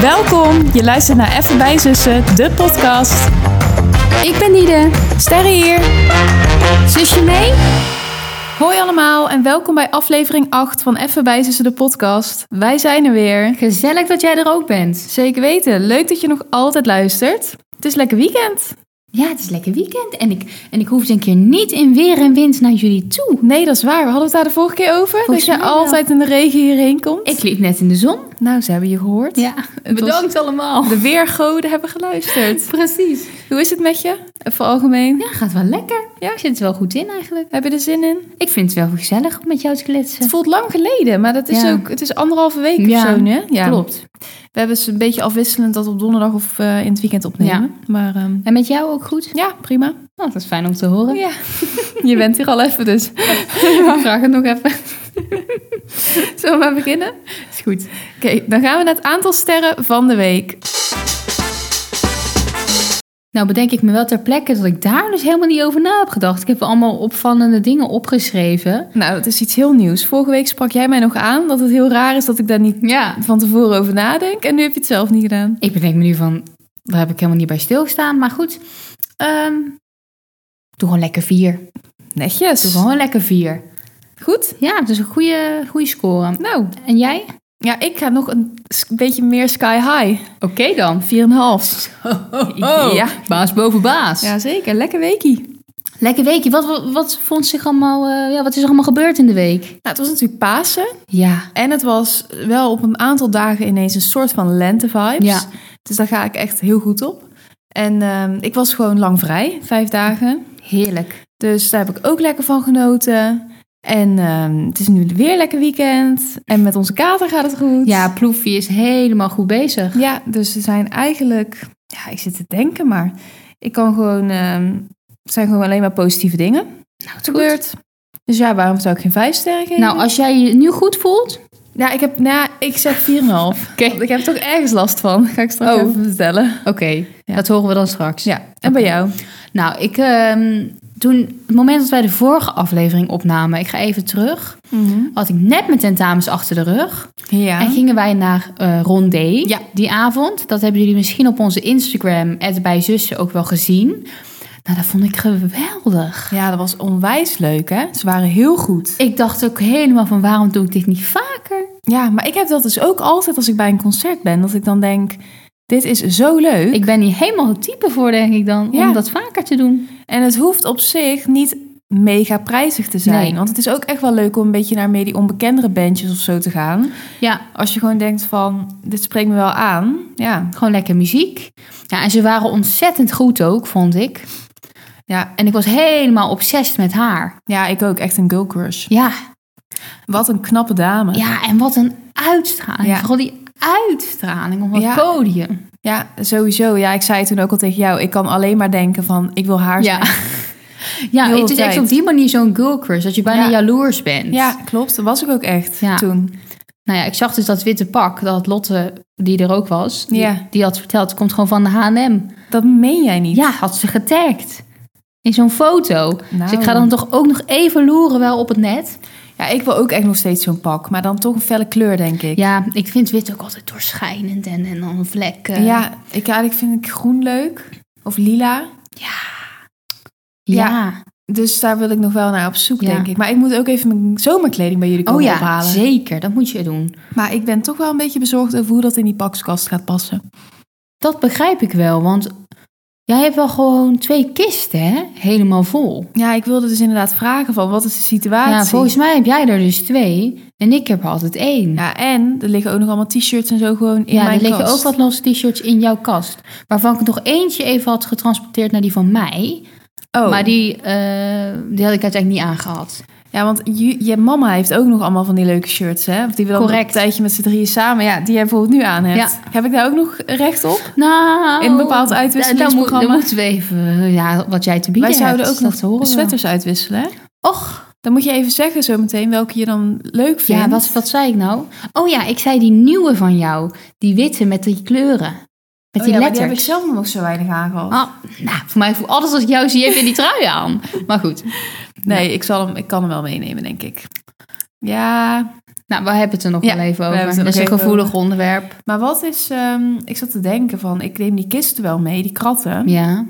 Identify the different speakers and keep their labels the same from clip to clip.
Speaker 1: Welkom, je luistert naar Even bij Zussen, de podcast.
Speaker 2: Ik ben Nide.
Speaker 1: Sterre hier.
Speaker 2: Zusje mee?
Speaker 1: Hoi allemaal en welkom bij aflevering 8 van Even bij Zussen, de podcast. Wij zijn er weer.
Speaker 2: Gezellig dat jij er ook bent.
Speaker 1: Zeker weten, leuk dat je nog altijd luistert. Het is lekker weekend.
Speaker 2: Ja, het is lekker weekend en ik, en ik hoef dus een keer niet in weer en wind naar jullie toe.
Speaker 1: Nee, dat is waar. We hadden het daar de vorige keer over.
Speaker 2: Volgens
Speaker 1: dat je
Speaker 2: mij wel.
Speaker 1: altijd in de regen hierheen komt.
Speaker 2: Ik liep net in de zon.
Speaker 1: Nou, ze hebben je gehoord. Het was-
Speaker 2: allemaal.
Speaker 1: De weergoden hebben geluisterd.
Speaker 2: Precies.
Speaker 1: Hoe is het met je? Even algemeen.
Speaker 2: Ja, gaat wel lekker.
Speaker 1: Ja.
Speaker 2: Ik zit er wel goed in eigenlijk.
Speaker 1: Heb je er zin in?
Speaker 2: Ik vind het wel gezellig om met jou te
Speaker 1: Het
Speaker 2: kletsen.
Speaker 1: voelt lang geleden, maar dat is
Speaker 2: Ja.
Speaker 1: ook, het is anderhalve week of
Speaker 2: Ja,
Speaker 1: zo, hè? Ja,
Speaker 2: Klopt.
Speaker 1: We hebben ze een beetje afwisselend dat op donderdag of eh, in het weekend opnemen. Maar ehm,
Speaker 2: En met jou ook goed?
Speaker 1: ja, prima.
Speaker 2: Oh, dat is fijn om te horen.
Speaker 1: Ja. Je bent hier al even dus.
Speaker 2: Ik vraag het nog even.
Speaker 1: Zullen we maar beginnen?
Speaker 2: Is goed.
Speaker 1: Oké, dan gaan we naar het aantal sterren van de week.
Speaker 2: Nou bedenk ik me wel ter plekke dat ik daar dus helemaal niet over na heb gedacht. Ik heb wel allemaal opvallende dingen opgeschreven.
Speaker 1: Nou, het is iets heel nieuws. Vorige week sprak jij mij nog aan dat het heel raar is dat ik daar niet
Speaker 2: Ja.
Speaker 1: van tevoren over nadenk. En nu heb je het zelf niet gedaan.
Speaker 2: Ik bedenk me nu van, daar heb ik helemaal niet bij stilgestaan. Maar goed, ehm, doe gewoon lekker vier. Doe
Speaker 1: Netjes.
Speaker 2: gewoon lekker vier.
Speaker 1: Goed.
Speaker 2: Ja, dat is een goede, goede score.
Speaker 1: Nou,
Speaker 2: En jij?
Speaker 1: ja, ik ga nog een s- beetje meer sky high.
Speaker 2: Oké dan.
Speaker 1: 4,5.
Speaker 2: Ja. Baas boven baas.
Speaker 1: Jazeker, lekker weekie.
Speaker 2: Lekker weekje. Wat, wat, wat vond zich allemaal, eh, ja, wat is er allemaal gebeurd in de week?
Speaker 1: Nou, het was natuurlijk Pasen.
Speaker 2: Ja.
Speaker 1: En het was wel op een aantal dagen ineens een soort van lente-vibes.
Speaker 2: Ja.
Speaker 1: Dus daar ga ik echt heel goed op. En ehm, ik was gewoon lang vrij, vijf dagen.
Speaker 2: Heerlijk.
Speaker 1: Dus daar heb ik ook lekker van genoten. En ehm, het is nu weer lekker weekend. En met onze kater gaat het goed.
Speaker 2: Ja, Ploefie is helemaal goed bezig.
Speaker 1: ja dus er zijn eigenlijk... Ja, ik zit te denken, maar ik kan gewoon... ehm, het zijn gewoon alleen maar positieve dingen
Speaker 2: Nou, het
Speaker 1: gebeurd. Dus ja, waarom zou ik geen vijf sterren geven?
Speaker 2: Nou, als jij je nu goed voelt.
Speaker 1: Ja, ik heb, nou, ja, ik zeg 4,5.
Speaker 2: Oké.
Speaker 1: Want ik heb toch ergens last van. Ga ik straks
Speaker 2: Oh.
Speaker 1: even vertellen.
Speaker 2: Oké, dat horen we dan straks.
Speaker 1: Ja, en bij jou?
Speaker 2: Nou, ik, ehm, toen, het moment dat wij de vorige aflevering opnamen, ik ga even terug,
Speaker 1: Mhm.
Speaker 2: had ik net mijn tentamens achter de rug.
Speaker 1: Ja.
Speaker 2: En gingen wij naar eh Rondé
Speaker 1: Ja.
Speaker 2: die avond. Dat hebben jullie misschien op onze Instagram, bij zussen, ook wel gezien. Nou, dat vond ik geweldig.
Speaker 1: ja, dat was onwijs leuk, hè? Ze waren heel goed.
Speaker 2: Ik dacht ook helemaal van, waarom doe ik dit niet vaker?
Speaker 1: Ja, maar ik heb dat dus ook altijd als ik bij een concert ben. Dat ik dan denk, dit is zo leuk.
Speaker 2: Ik ben hier helemaal het type voor, denk ik dan,
Speaker 1: Ja.
Speaker 2: om dat vaker te doen.
Speaker 1: En het hoeft op zich niet mega prijzig te zijn.
Speaker 2: Nee.
Speaker 1: Want het is ook echt wel leuk om een beetje naar meer die onbekendere bandjes of zo te gaan.
Speaker 2: Ja,
Speaker 1: Als je gewoon denkt van, dit spreekt me wel aan. Ja,
Speaker 2: gewoon lekker muziek. Ja, en ze waren ontzettend goed ook, vond ik.
Speaker 1: ja,
Speaker 2: En ik was helemaal obsessed met haar.
Speaker 1: ja ik ook. Echt een girl crush.
Speaker 2: Ja,
Speaker 1: Wat een knappe dame.
Speaker 2: ja en wat een uitstraling.
Speaker 1: Ja.
Speaker 2: Vooral die uitstraling op dat
Speaker 1: Ja.
Speaker 2: podium.
Speaker 1: Ja, sowieso. Ja, ik zei het toen ook al tegen jou. Ik kan alleen maar denken van, ik wil haar zijn.
Speaker 2: Ja. Ja,
Speaker 1: Heel
Speaker 2: het is
Speaker 1: de
Speaker 2: echt
Speaker 1: tijd.
Speaker 2: op die manier zo'n girl crush. Dat je bijna
Speaker 1: Ja.
Speaker 2: jaloers bent.
Speaker 1: Ja, klopt. Dat was ik ook echt
Speaker 2: Ja.
Speaker 1: toen.
Speaker 2: Nou ja, ik zag dus dat witte pak. Dat had Lotte, die er ook was, die,
Speaker 1: Ja.
Speaker 2: die had verteld. Het komt gewoon van de H&M.
Speaker 1: Dat meen jij niet.
Speaker 2: Ja, had ze getagd. In zo'n foto. Dus
Speaker 1: Nou.
Speaker 2: ik ga dan toch ook nog even loeren wel op het net.
Speaker 1: Ja, ik wil ook echt nog steeds zo'n pak. Maar dan toch een felle kleur, denk ik.
Speaker 2: Ja, ik vind wit ook altijd doorschijnend en, en dan vlekken.
Speaker 1: Ja, ik, eigenlijk vind ik groen leuk. Of lila.
Speaker 2: ja.
Speaker 1: Dus daar wil ik nog wel naar op zoek,
Speaker 2: Ja.
Speaker 1: denk ik. Maar ik moet ook even mijn zomerkleding bij jullie komen
Speaker 2: Oh ja,
Speaker 1: ophalen.
Speaker 2: zeker. Dat moet je doen.
Speaker 1: Maar ik ben toch wel een beetje bezorgd over hoe dat in die pakskast gaat passen.
Speaker 2: Dat begrijp ik wel, want jij hebt wel gewoon twee kisten, hè? Helemaal vol.
Speaker 1: Ja, ik wilde dus inderdaad vragen van, wat is de situatie?
Speaker 2: Ja, volgens mij heb jij er dus twee en ik heb er altijd één.
Speaker 1: Ja, en er liggen ook nog allemaal t-shirts en zo gewoon in
Speaker 2: Ja,
Speaker 1: mijn
Speaker 2: er liggen
Speaker 1: kast.
Speaker 2: ook wat losse t-shirts in jouw kast. Waarvan ik er nog eentje even had getransporteerd naar die van mij.
Speaker 1: Oh.
Speaker 2: Maar die, eh, die had ik uiteindelijk niet aangehad.
Speaker 1: Ja, want je, je mama heeft ook nog allemaal van die leuke shirts, hè? Of die we dan
Speaker 2: Correct.
Speaker 1: een tijdje met z'n drieën samen... Ja, die jij bijvoorbeeld nu aan hebt. Heb ik daar ook nog recht op?
Speaker 2: Nou,
Speaker 1: In een bepaald
Speaker 2: da-
Speaker 1: uitwisselingsprogramma.
Speaker 2: Dan, moet- dan moeten we even, eh, ja, wat jij te bieden
Speaker 1: Wij zouden
Speaker 2: hebt,
Speaker 1: ook nog
Speaker 2: dat horen we.
Speaker 1: sweaters uitwisselen, hè?
Speaker 2: Och,
Speaker 1: Dan moet je even zeggen zometeen welke je dan leuk vindt.
Speaker 2: ja, wat, wat zei ik nou? Oh ja, ik zei die nieuwe van jou. Die witte met die kleuren. Met
Speaker 1: Oh
Speaker 2: die
Speaker 1: ja, maar
Speaker 2: letters.
Speaker 1: heb ik zelf nog zo weinig aangehad.
Speaker 2: Ah, nou, voor mij voel alles als ik jou zie, heb je die trui aan. Maar goed.
Speaker 1: nee, ik, zal hem, ik kan hem wel meenemen, denk ik. Ja,
Speaker 2: Nou, we hebben het er nog
Speaker 1: Ja,
Speaker 2: wel even
Speaker 1: we hebben het
Speaker 2: over.
Speaker 1: er
Speaker 2: Dat is een
Speaker 1: nog even
Speaker 2: gevoelig onderwerp.
Speaker 1: Maar wat is, ehm, ik zat te denken van, ik neem die kisten wel mee, die kratten.
Speaker 2: Ja.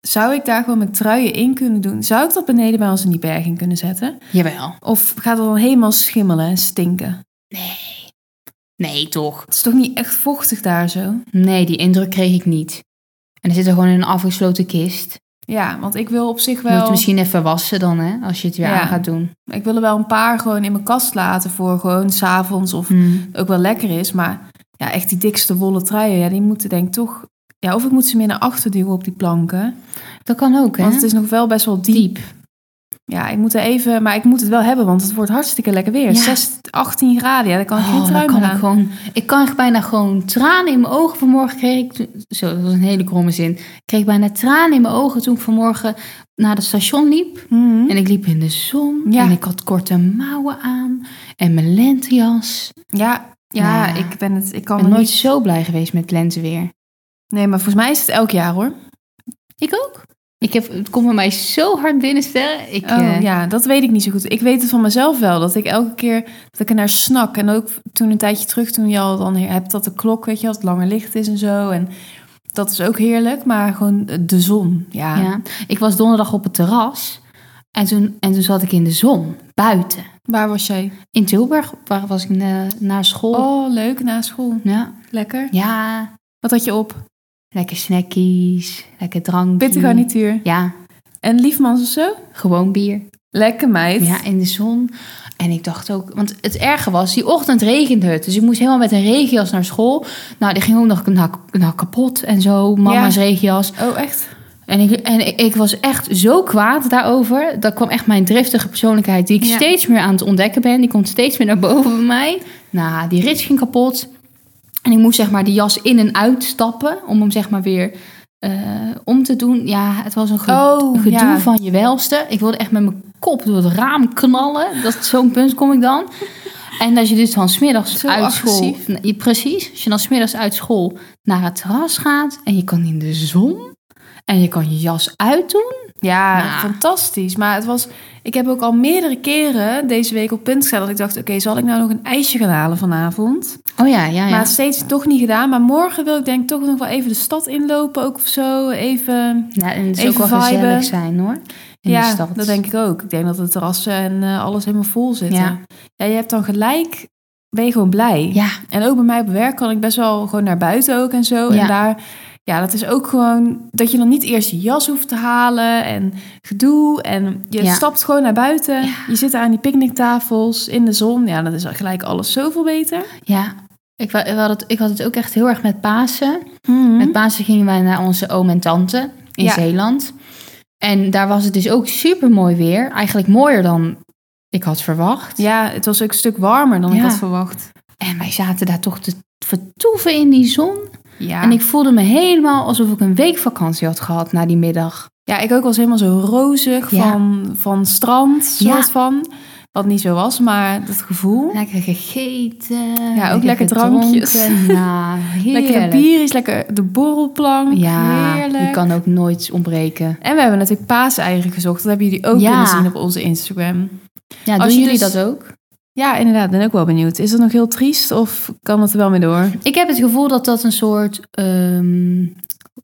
Speaker 1: Zou ik daar gewoon mijn truien in kunnen doen? Zou ik dat beneden bij ons in die berging kunnen zetten?
Speaker 2: Jawel.
Speaker 1: Of gaat dat dan helemaal schimmelen en stinken?
Speaker 2: Nee. Nee, toch?
Speaker 1: Het is toch niet echt vochtig daar zo?
Speaker 2: Nee, die indruk kreeg ik niet. En er zit er gewoon in een afgesloten kist.
Speaker 1: Ja, want ik wil op zich
Speaker 2: Je moet het
Speaker 1: wel,
Speaker 2: misschien even wassen dan, hè? Als je het weer
Speaker 1: Ja.
Speaker 2: aan gaat doen.
Speaker 1: ik wil er wel een paar gewoon in mijn kast laten voor gewoon s'avonds of
Speaker 2: Hmm.
Speaker 1: ook wel lekker is. Maar ja, echt die dikste wollen truien, ja, die moeten denk ik toch... Ja, of ik moet ze meer naar achter duwen op die planken.
Speaker 2: Dat kan ook, hè?
Speaker 1: Want het is nog wel best wel diep. Ja, ik moet er even, maar ik moet het wel hebben, want het wordt hartstikke lekker weer.
Speaker 2: Ja.
Speaker 1: 6, 18 graden, ja, daar kan ik geen
Speaker 2: Oh,
Speaker 1: trui
Speaker 2: dan kan
Speaker 1: meer
Speaker 2: ik
Speaker 1: aan.
Speaker 2: gewoon... Ik kan echt bijna gewoon tranen in mijn ogen. Vanmorgen kreeg ik... toen- Zo, dat was een hele kromme zin. Ik kreeg bijna tranen in mijn ogen toen ik vanmorgen naar het station liep.
Speaker 1: Mhm.
Speaker 2: En ik liep in de zon.
Speaker 1: Ja.
Speaker 2: En ik had korte mouwen aan. En mijn lentejas.
Speaker 1: Ja, ja,
Speaker 2: Nou ja.
Speaker 1: ik ben het, ik
Speaker 2: Ik
Speaker 1: kan
Speaker 2: ben
Speaker 1: het
Speaker 2: nooit
Speaker 1: nooit...
Speaker 2: zo blij geweest met lenteweer.
Speaker 1: Nee, maar volgens mij is het elk jaar hoor.
Speaker 2: Ik ook. Ik heb, het komt bij mij zo hard binnen, Sterre. Ik,
Speaker 1: oh,
Speaker 2: eh,
Speaker 1: ja, dat weet ik niet zo goed. Ik weet het van mezelf wel, dat ik elke keer dat ik er naar snak. En ook toen een tijdje terug, toen je al dan hebt dat de klok, weet je, dat het langer licht is en zo. En dat is ook heerlijk, maar gewoon eh, de zon, ja.
Speaker 2: ja. Ik was donderdag op het terras. En toen, en toen zat ik in de zon. Buiten.
Speaker 1: Waar was jij?
Speaker 2: In Tilburg. Waar was ik na, naar school.
Speaker 1: Oh, leuk, na school.
Speaker 2: Ja.
Speaker 1: Lekker.
Speaker 2: ja.
Speaker 1: Wat had je op?
Speaker 2: Lekker snackies. Lekker drank.
Speaker 1: Pittig garnituur.
Speaker 2: Ja.
Speaker 1: En liefmans of zo?
Speaker 2: Gewoon bier.
Speaker 1: Lekker meid.
Speaker 2: Ja, in de zon. En ik dacht ook, want het erge was, die ochtend regende het. Dus ik moest helemaal met een regenjas naar school. Nou, die ging ook nog nou, nou, kapot en zo. Mama's
Speaker 1: Ja.
Speaker 2: regenjas.
Speaker 1: Oh, echt?
Speaker 2: En, ik, en ik, ik was echt zo kwaad daarover. Dat kwam echt mijn driftige persoonlijkheid, die ik
Speaker 1: Ja.
Speaker 2: steeds meer aan het ontdekken ben. Die komt steeds meer naar boven bij mij. Nou, die rits ging kapot. En ik moest zeg maar die jas in en uit stappen om hem zeg maar weer eh, om te doen. Ja, het was een ge-
Speaker 1: Oh,
Speaker 2: gedoe
Speaker 1: ja.
Speaker 2: van je welste. Ik wilde echt met mijn kop door het raam knallen. Dat zo'n punt kom ik dan. En als je dus dan smiddags
Speaker 1: Zo
Speaker 2: uit
Speaker 1: agressief.
Speaker 2: school... Je, precies, als je dan smiddags uit school naar het terras gaat... en je kan in de zon en je kan je jas uitdoen.
Speaker 1: Ja,
Speaker 2: Nou.
Speaker 1: fantastisch. Maar het was, ik heb ook al meerdere keren deze week op punt gestaan dat ik dacht, oké, zal ik nou nog een ijsje gaan halen vanavond?
Speaker 2: Oh ja, ja, ja.
Speaker 1: Maar steeds toch niet gedaan. Maar morgen wil ik denk ik toch nog wel even de stad inlopen ook of zo. Even,
Speaker 2: ja en het is ook
Speaker 1: even
Speaker 2: wel
Speaker 1: viben.
Speaker 2: gezellig zijn hoor, in
Speaker 1: ja,
Speaker 2: de stad.
Speaker 1: dat denk ik ook. Ik denk dat de terrassen en eh, alles helemaal vol zitten. Ja.
Speaker 2: Ja.
Speaker 1: je hebt dan gelijk, ben je gewoon blij.
Speaker 2: Ja,
Speaker 1: En ook bij mij op werk kan ik best wel gewoon naar buiten ook en zo. En
Speaker 2: Ja.
Speaker 1: daar, ja, dat is ook gewoon dat je dan niet eerst je jas hoeft te halen en gedoe. En je
Speaker 2: Ja.
Speaker 1: stapt gewoon naar buiten. Je zit aan die picknicktafels in de zon. Ja, dat is al gelijk alles zoveel beter.
Speaker 2: ja. Ik, wa- ik had het, ik had het ook echt heel erg met Pasen. Met Pasen gingen wij naar onze oom en tante
Speaker 1: Mhm.
Speaker 2: in
Speaker 1: Ja.
Speaker 2: Zeeland. En daar was het dus ook super mooi weer. Eigenlijk mooier dan ik had verwacht.
Speaker 1: Ja, het was ook een stuk warmer dan ik
Speaker 2: Ja.
Speaker 1: had verwacht.
Speaker 2: En wij zaten daar toch te vertoeven in die zon.
Speaker 1: Ja.
Speaker 2: En ik voelde me helemaal alsof ik een week vakantie had gehad na die middag.
Speaker 1: ja, ik ook was helemaal zo rozig
Speaker 2: Ja.
Speaker 1: van, van strand,
Speaker 2: Ja.
Speaker 1: soort van. Wat niet zo was, maar dat gevoel.
Speaker 2: Lekker gegeten.
Speaker 1: Ja, ook lekker drankjes.
Speaker 2: gedronken. Nou, heerlijk.
Speaker 1: Lekker bier is lekker de borrelplank.
Speaker 2: Ja,
Speaker 1: heerlijk.
Speaker 2: die kan ook nooit ontbreken.
Speaker 1: En we hebben natuurlijk paaseieren gezocht. Dat hebben jullie ook
Speaker 2: Ja.
Speaker 1: kunnen zien op onze Instagram.
Speaker 2: Ja,
Speaker 1: Als
Speaker 2: doen
Speaker 1: je
Speaker 2: jullie
Speaker 1: dus-
Speaker 2: dat ook?
Speaker 1: Ja, inderdaad. Ben ook wel benieuwd. Is dat nog heel triest of kan het er wel mee door?
Speaker 2: Ik heb het gevoel dat dat een soort ehm,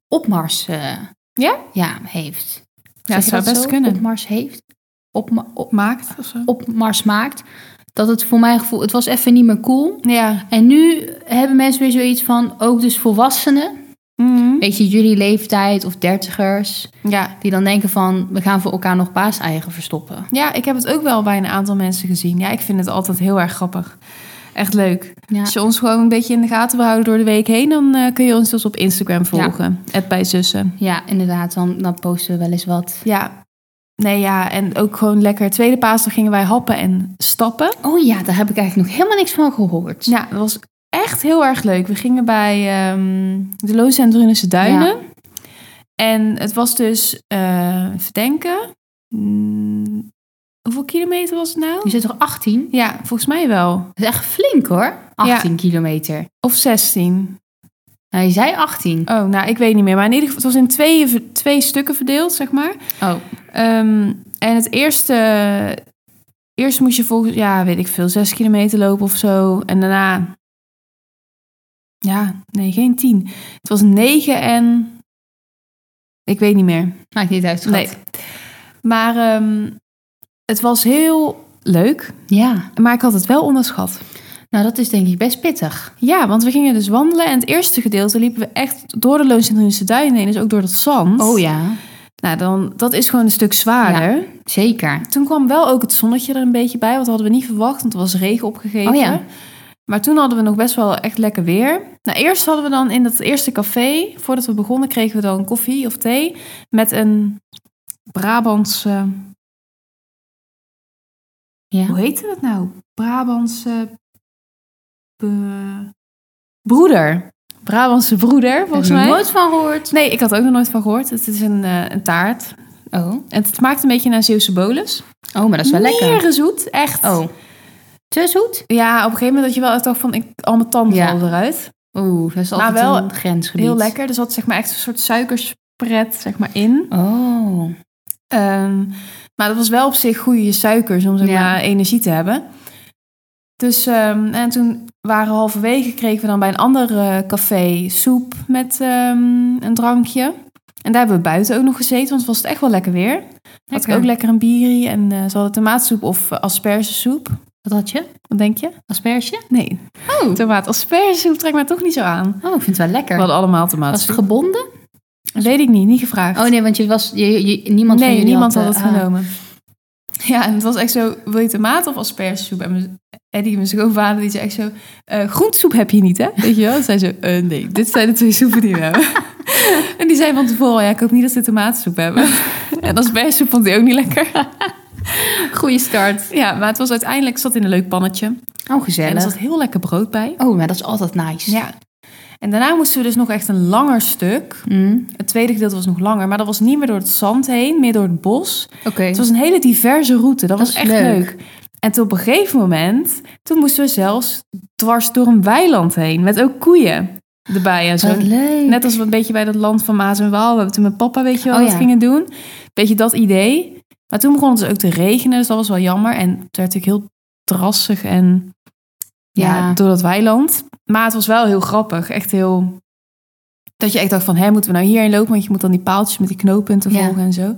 Speaker 2: opmars eh,
Speaker 1: Ja?
Speaker 2: ja, heeft.
Speaker 1: Ja,
Speaker 2: Zeg
Speaker 1: het
Speaker 2: je
Speaker 1: zou
Speaker 2: dat
Speaker 1: best
Speaker 2: zo?
Speaker 1: kunnen.
Speaker 2: Opmars heeft. Opma- op,
Speaker 1: Maakt of zo?
Speaker 2: opmars maakt. Dat het voor mijn gevoel, het was even niet meer cool.
Speaker 1: Ja.
Speaker 2: En nu hebben mensen weer zoiets van, ook dus volwassenen,
Speaker 1: Mhm.
Speaker 2: weet je, jullie leeftijd of dertigers,
Speaker 1: ja.
Speaker 2: die dan denken van, we gaan voor elkaar nog paaseieren verstoppen.
Speaker 1: Ja, ik heb het ook wel bij een aantal mensen gezien. Ja, ik vind het altijd heel erg grappig. Echt leuk.
Speaker 2: Ja.
Speaker 1: Als je ons gewoon een beetje in de gaten wil houden door de week heen, dan eh, kun je ons dus op Instagram volgen. Het bij zussen.
Speaker 2: Ja, inderdaad, dan, dan posten we wel eens wat.
Speaker 1: Ja. Nee, ja. En ook gewoon lekker. Tweede paasdag gingen wij happen en stappen.
Speaker 2: Oh ja, daar heb ik eigenlijk nog helemaal niks van gehoord.
Speaker 1: Ja, dat was echt heel erg leuk. We gingen bij ehm, de Loos en Drunense Duinen. En het was dus, eh even denken, mm, hoeveel kilometer was het
Speaker 2: Je
Speaker 1: nou?
Speaker 2: zit toch 18?
Speaker 1: Ja, volgens mij wel.
Speaker 2: Dat is echt flink hoor. 18 kilometer.
Speaker 1: Of 16.
Speaker 2: Nou, je zei 18.
Speaker 1: Oh, nou, ik weet niet meer. Maar in ieder geval, het was in twee, ver- Oh. twee stukken verdeeld, zeg maar.
Speaker 2: Oh,
Speaker 1: Ehm, en het eerste, Eerst moest je volgens, ja, weet ik veel, zes kilometer lopen of zo. En daarna, ja, nee, geen tien. Het was negen en, ik weet niet meer.
Speaker 2: Maakt niet uit, schat.
Speaker 1: Nee. Maar ehm, het was heel leuk,
Speaker 2: Ja.
Speaker 1: maar ik had het wel onderschat.
Speaker 2: Nou, dat is denk ik best pittig.
Speaker 1: Ja, want we gingen dus wandelen en het eerste gedeelte liepen we echt door de Loonsindrunische duinen heen, dus ook door dat zand.
Speaker 2: Oh ja.
Speaker 1: Nou, dan, dat is gewoon een stuk zwaarder.
Speaker 2: Zeker.
Speaker 1: Toen kwam wel ook het zonnetje er een beetje bij, want dat hadden we niet verwacht, want er was regen opgegeven.
Speaker 2: Oh ja.
Speaker 1: Maar toen hadden we nog best wel echt lekker weer. Nou, eerst hadden we dan in dat eerste café, voordat we begonnen, kregen we dan koffie of thee met een Brabantse, hoe
Speaker 2: Ja.
Speaker 1: heette dat nou? Brabantse be- broeder. Brabantse broeder, volgens
Speaker 2: Heb je
Speaker 1: mij.
Speaker 2: er nooit van gehoord.
Speaker 1: Nee, ik had er ook nog nooit van gehoord. Het is een, eh, een taart.
Speaker 2: Oh.
Speaker 1: En het smaakt een beetje naar Zeeuwse bolus.
Speaker 2: Oh, maar dat is wel lekker.
Speaker 1: zoet, echt.
Speaker 2: Oh. Te zoet?
Speaker 1: Ja, op een gegeven moment dat je wel echt dacht van, ik, al mijn tanden
Speaker 2: Ja.
Speaker 1: vallen eruit.
Speaker 2: Oeh, dat is
Speaker 1: Maar
Speaker 2: altijd
Speaker 1: Nou, wel
Speaker 2: een grensgebied.
Speaker 1: Heel lekker. Dus had zeg maar echt een soort suikerspret zeg maar, in.
Speaker 2: Oh.
Speaker 1: Ehm, maar dat was wel op zich goede suikers om zeg
Speaker 2: Ja.
Speaker 1: maar energie te hebben. Dus ehm, en toen waren we halverwege, kregen we dan bij een ander eh, café soep met ehm, een drankje. En daar hebben we buiten ook nog gezeten, want het was het echt wel lekker weer. Had ik
Speaker 2: Lekker.
Speaker 1: ook lekker een bierie en eh, ze hadden tomaatsoep of eh, aspergesoep.
Speaker 2: Wat had je?
Speaker 1: Wat denk je?
Speaker 2: Asperge?
Speaker 1: Nee,
Speaker 2: Oh.
Speaker 1: tomaat aspergesoep trekt mij toch niet zo aan.
Speaker 2: Oh, ik vind het wel lekker.
Speaker 1: We hadden allemaal
Speaker 2: was het
Speaker 1: tomaatsoep.
Speaker 2: gebonden?
Speaker 1: Weet ik niet, niet gevraagd.
Speaker 2: Oh nee, want je was, je, je- niemand van
Speaker 1: nee,
Speaker 2: jullie
Speaker 1: niemand had,
Speaker 2: had,
Speaker 1: het
Speaker 2: eh, ah.
Speaker 1: genomen. Ja, en het was echt zo, wil je tomaat of aspergesoep? En mijn- Eddie, mijn schoonvader, die zei echt zo, eh groentesoep heb je niet, hè? Weet je wel? Zei ze, eh, nee, dit zijn de twee soepen die we hebben. en die zei van tevoren, ja, ik hoop niet dat ze tomaatsoep hebben. en aspergesoep vond hij ook niet lekker.
Speaker 2: Goeie start.
Speaker 1: Ja, maar het was uiteindelijk, zat in een leuk pannetje.
Speaker 2: Oh,
Speaker 1: En er
Speaker 2: gezellig.
Speaker 1: zat heel lekker brood bij.
Speaker 2: Oh, maar dat is altijd nice.
Speaker 1: Ja. En daarna moesten we dus nog echt een langer stuk.
Speaker 2: Mm.
Speaker 1: Het tweede gedeelte was nog langer, maar dat was niet meer door het zand heen, meer door het bos.
Speaker 2: Oké.
Speaker 1: Het was een hele diverse route. Dat,
Speaker 2: Dat
Speaker 1: was
Speaker 2: is
Speaker 1: echt leuk.
Speaker 2: leuk.
Speaker 1: En toen op een gegeven moment, toen moesten we zelfs dwars door een weiland heen. Met ook koeien erbij en zo.
Speaker 2: Wat leuk.
Speaker 1: Net als we een beetje bij dat land van Maas en Waal. We hebben toen met papa, weet je wel,
Speaker 2: Oh,
Speaker 1: wat
Speaker 2: ja.
Speaker 1: gingen doen. Beetje dat idee. Maar toen begon het dus ook te regenen, dus dat was wel jammer. En het werd natuurlijk heel drassig en ja,
Speaker 2: Ja.
Speaker 1: door dat weiland. Maar het was wel heel grappig. Echt heel... Dat je echt dacht van, hè, moeten we nou hierheen lopen? Want je moet dan die paaltjes met die knooppunten
Speaker 2: Ja.
Speaker 1: volgen en zo.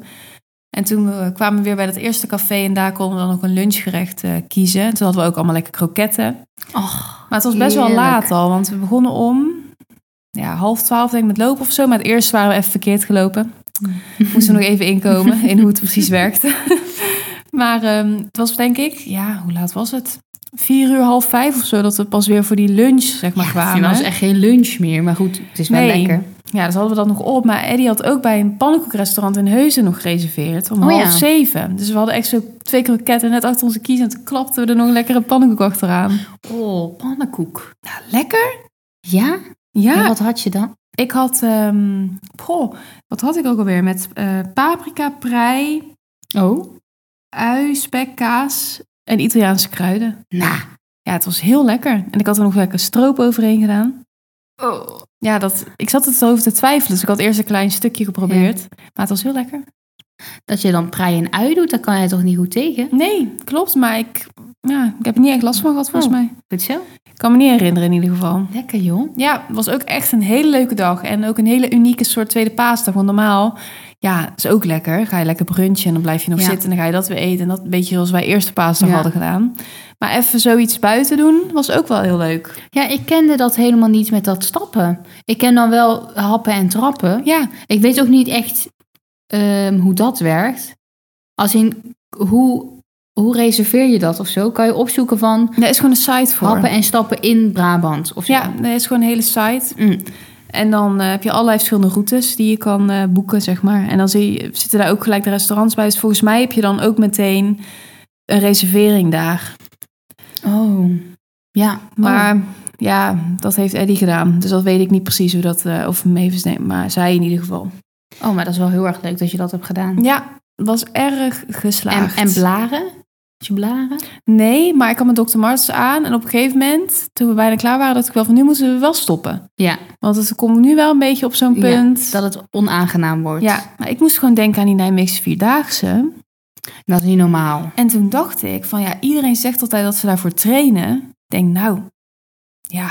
Speaker 1: En toen eh, kwamen we weer bij dat eerste café en daar konden we dan ook een lunchgerecht eh, kiezen. En toen hadden we ook allemaal lekker kroketten.
Speaker 2: Och.
Speaker 1: Maar het was best wel
Speaker 2: Heerlijk.
Speaker 1: laat al, want we begonnen om ja, half twaalf denk ik met lopen of zo. Maar het eerst waren we even verkeerd gelopen.
Speaker 2: Mm.
Speaker 1: Moesten we nog even inkomen in hoe het precies werkte. maar ehm, het was denk ik, ja, hoe laat was het? Vier uur, half vijf of zo, dat we pas weer voor die lunch zeg maar
Speaker 2: Ja, dat
Speaker 1: kwamen.
Speaker 2: is echt geen lunch meer, maar goed, het is wel
Speaker 1: Nee.
Speaker 2: lekker.
Speaker 1: Ja, dus hadden we dat nog op. Maar Eddie had ook bij een pannenkoekrestaurant in Heuzen nog gereserveerd. Om
Speaker 2: Oh ja.
Speaker 1: half zeven. Dus we hadden echt zo twee kroketten net achter onze kies. En toen klapten we er nog een lekkere pannenkoek achteraan.
Speaker 2: Oh, pannenkoek.
Speaker 1: Nou, lekker.
Speaker 2: Ja?
Speaker 1: Ja,
Speaker 2: En wat had je dan?
Speaker 1: Ik had, ehm goh, wat had ik ook alweer? Met eh, paprika, prei,
Speaker 2: Oh.
Speaker 1: ui, spek, kaas en Italiaanse kruiden.
Speaker 2: Nou.
Speaker 1: Ja, het was heel lekker. En ik had er nog lekker stroop overheen gedaan.
Speaker 2: Oh.
Speaker 1: Ja, dat, ik zat het erover te twijfelen. Dus ik had eerst een klein stukje geprobeerd. Maar het was heel lekker.
Speaker 2: Dat je dan prei en ui doet, daar kan je toch niet goed tegen?
Speaker 1: Nee, klopt. Maar ik, ja, ik heb er niet echt last van gehad, volgens
Speaker 2: Oh.
Speaker 1: mij.
Speaker 2: Goed zo.
Speaker 1: Ik kan me niet herinneren in ieder geval.
Speaker 2: Lekker, joh.
Speaker 1: Ja, het was ook echt een hele leuke dag. En ook een hele unieke soort tweede paasdag. Want normaal, ja, is ook lekker. Ga je lekker brunchen en dan blijf je nog
Speaker 2: Ja.
Speaker 1: zitten. En dan ga je dat weer eten. En dat een beetje zoals wij eerste paasdag
Speaker 2: Ja.
Speaker 1: hadden gedaan. Maar even zoiets buiten doen, was ook wel heel leuk.
Speaker 2: Ja, ik kende dat helemaal niet met dat stappen. Ik ken dan wel happen en trappen.
Speaker 1: Ja,
Speaker 2: Ik weet ook niet echt ehm, hoe dat werkt. Als in, hoe, hoe reserveer je dat of zo? Kan je opzoeken van
Speaker 1: daar is gewoon een site voor.
Speaker 2: happen en stappen in Brabant of zo?
Speaker 1: ja, daar is gewoon een hele site.
Speaker 2: Mm.
Speaker 1: En dan eh, heb je allerlei verschillende routes die je kan eh, boeken, zeg maar. En dan zie je, zitten daar ook gelijk de restaurants bij. Dus volgens mij heb je dan ook meteen een reservering daar.
Speaker 2: Oh, ja. Maar
Speaker 1: Maar ja, dat heeft Eddie gedaan. Dus dat weet ik niet precies hoe dat, eh, of Mavis neemt, maar zij in ieder geval.
Speaker 2: oh. maar dat is wel heel erg leuk dat je dat hebt gedaan.
Speaker 1: Ja, was erg
Speaker 2: En,
Speaker 1: geslaagd.
Speaker 2: en blaren? Had je blaren?
Speaker 1: nee, maar ik had mijn Dr. Martens aan. En op een gegeven moment, toen we bijna klaar waren, dacht ik wel van nu moeten we wel stoppen.
Speaker 2: Ja,
Speaker 1: Want het komt nu wel een beetje op zo'n
Speaker 2: Ja,
Speaker 1: punt. Ja,
Speaker 2: dat het onaangenaam wordt.
Speaker 1: maar ik moest gewoon denken aan die Nijmeegse Vierdaagse.
Speaker 2: Dat is niet normaal.
Speaker 1: En toen dacht ik van ja, iedereen zegt altijd dat ze daarvoor trainen. Ik denk nou, ja,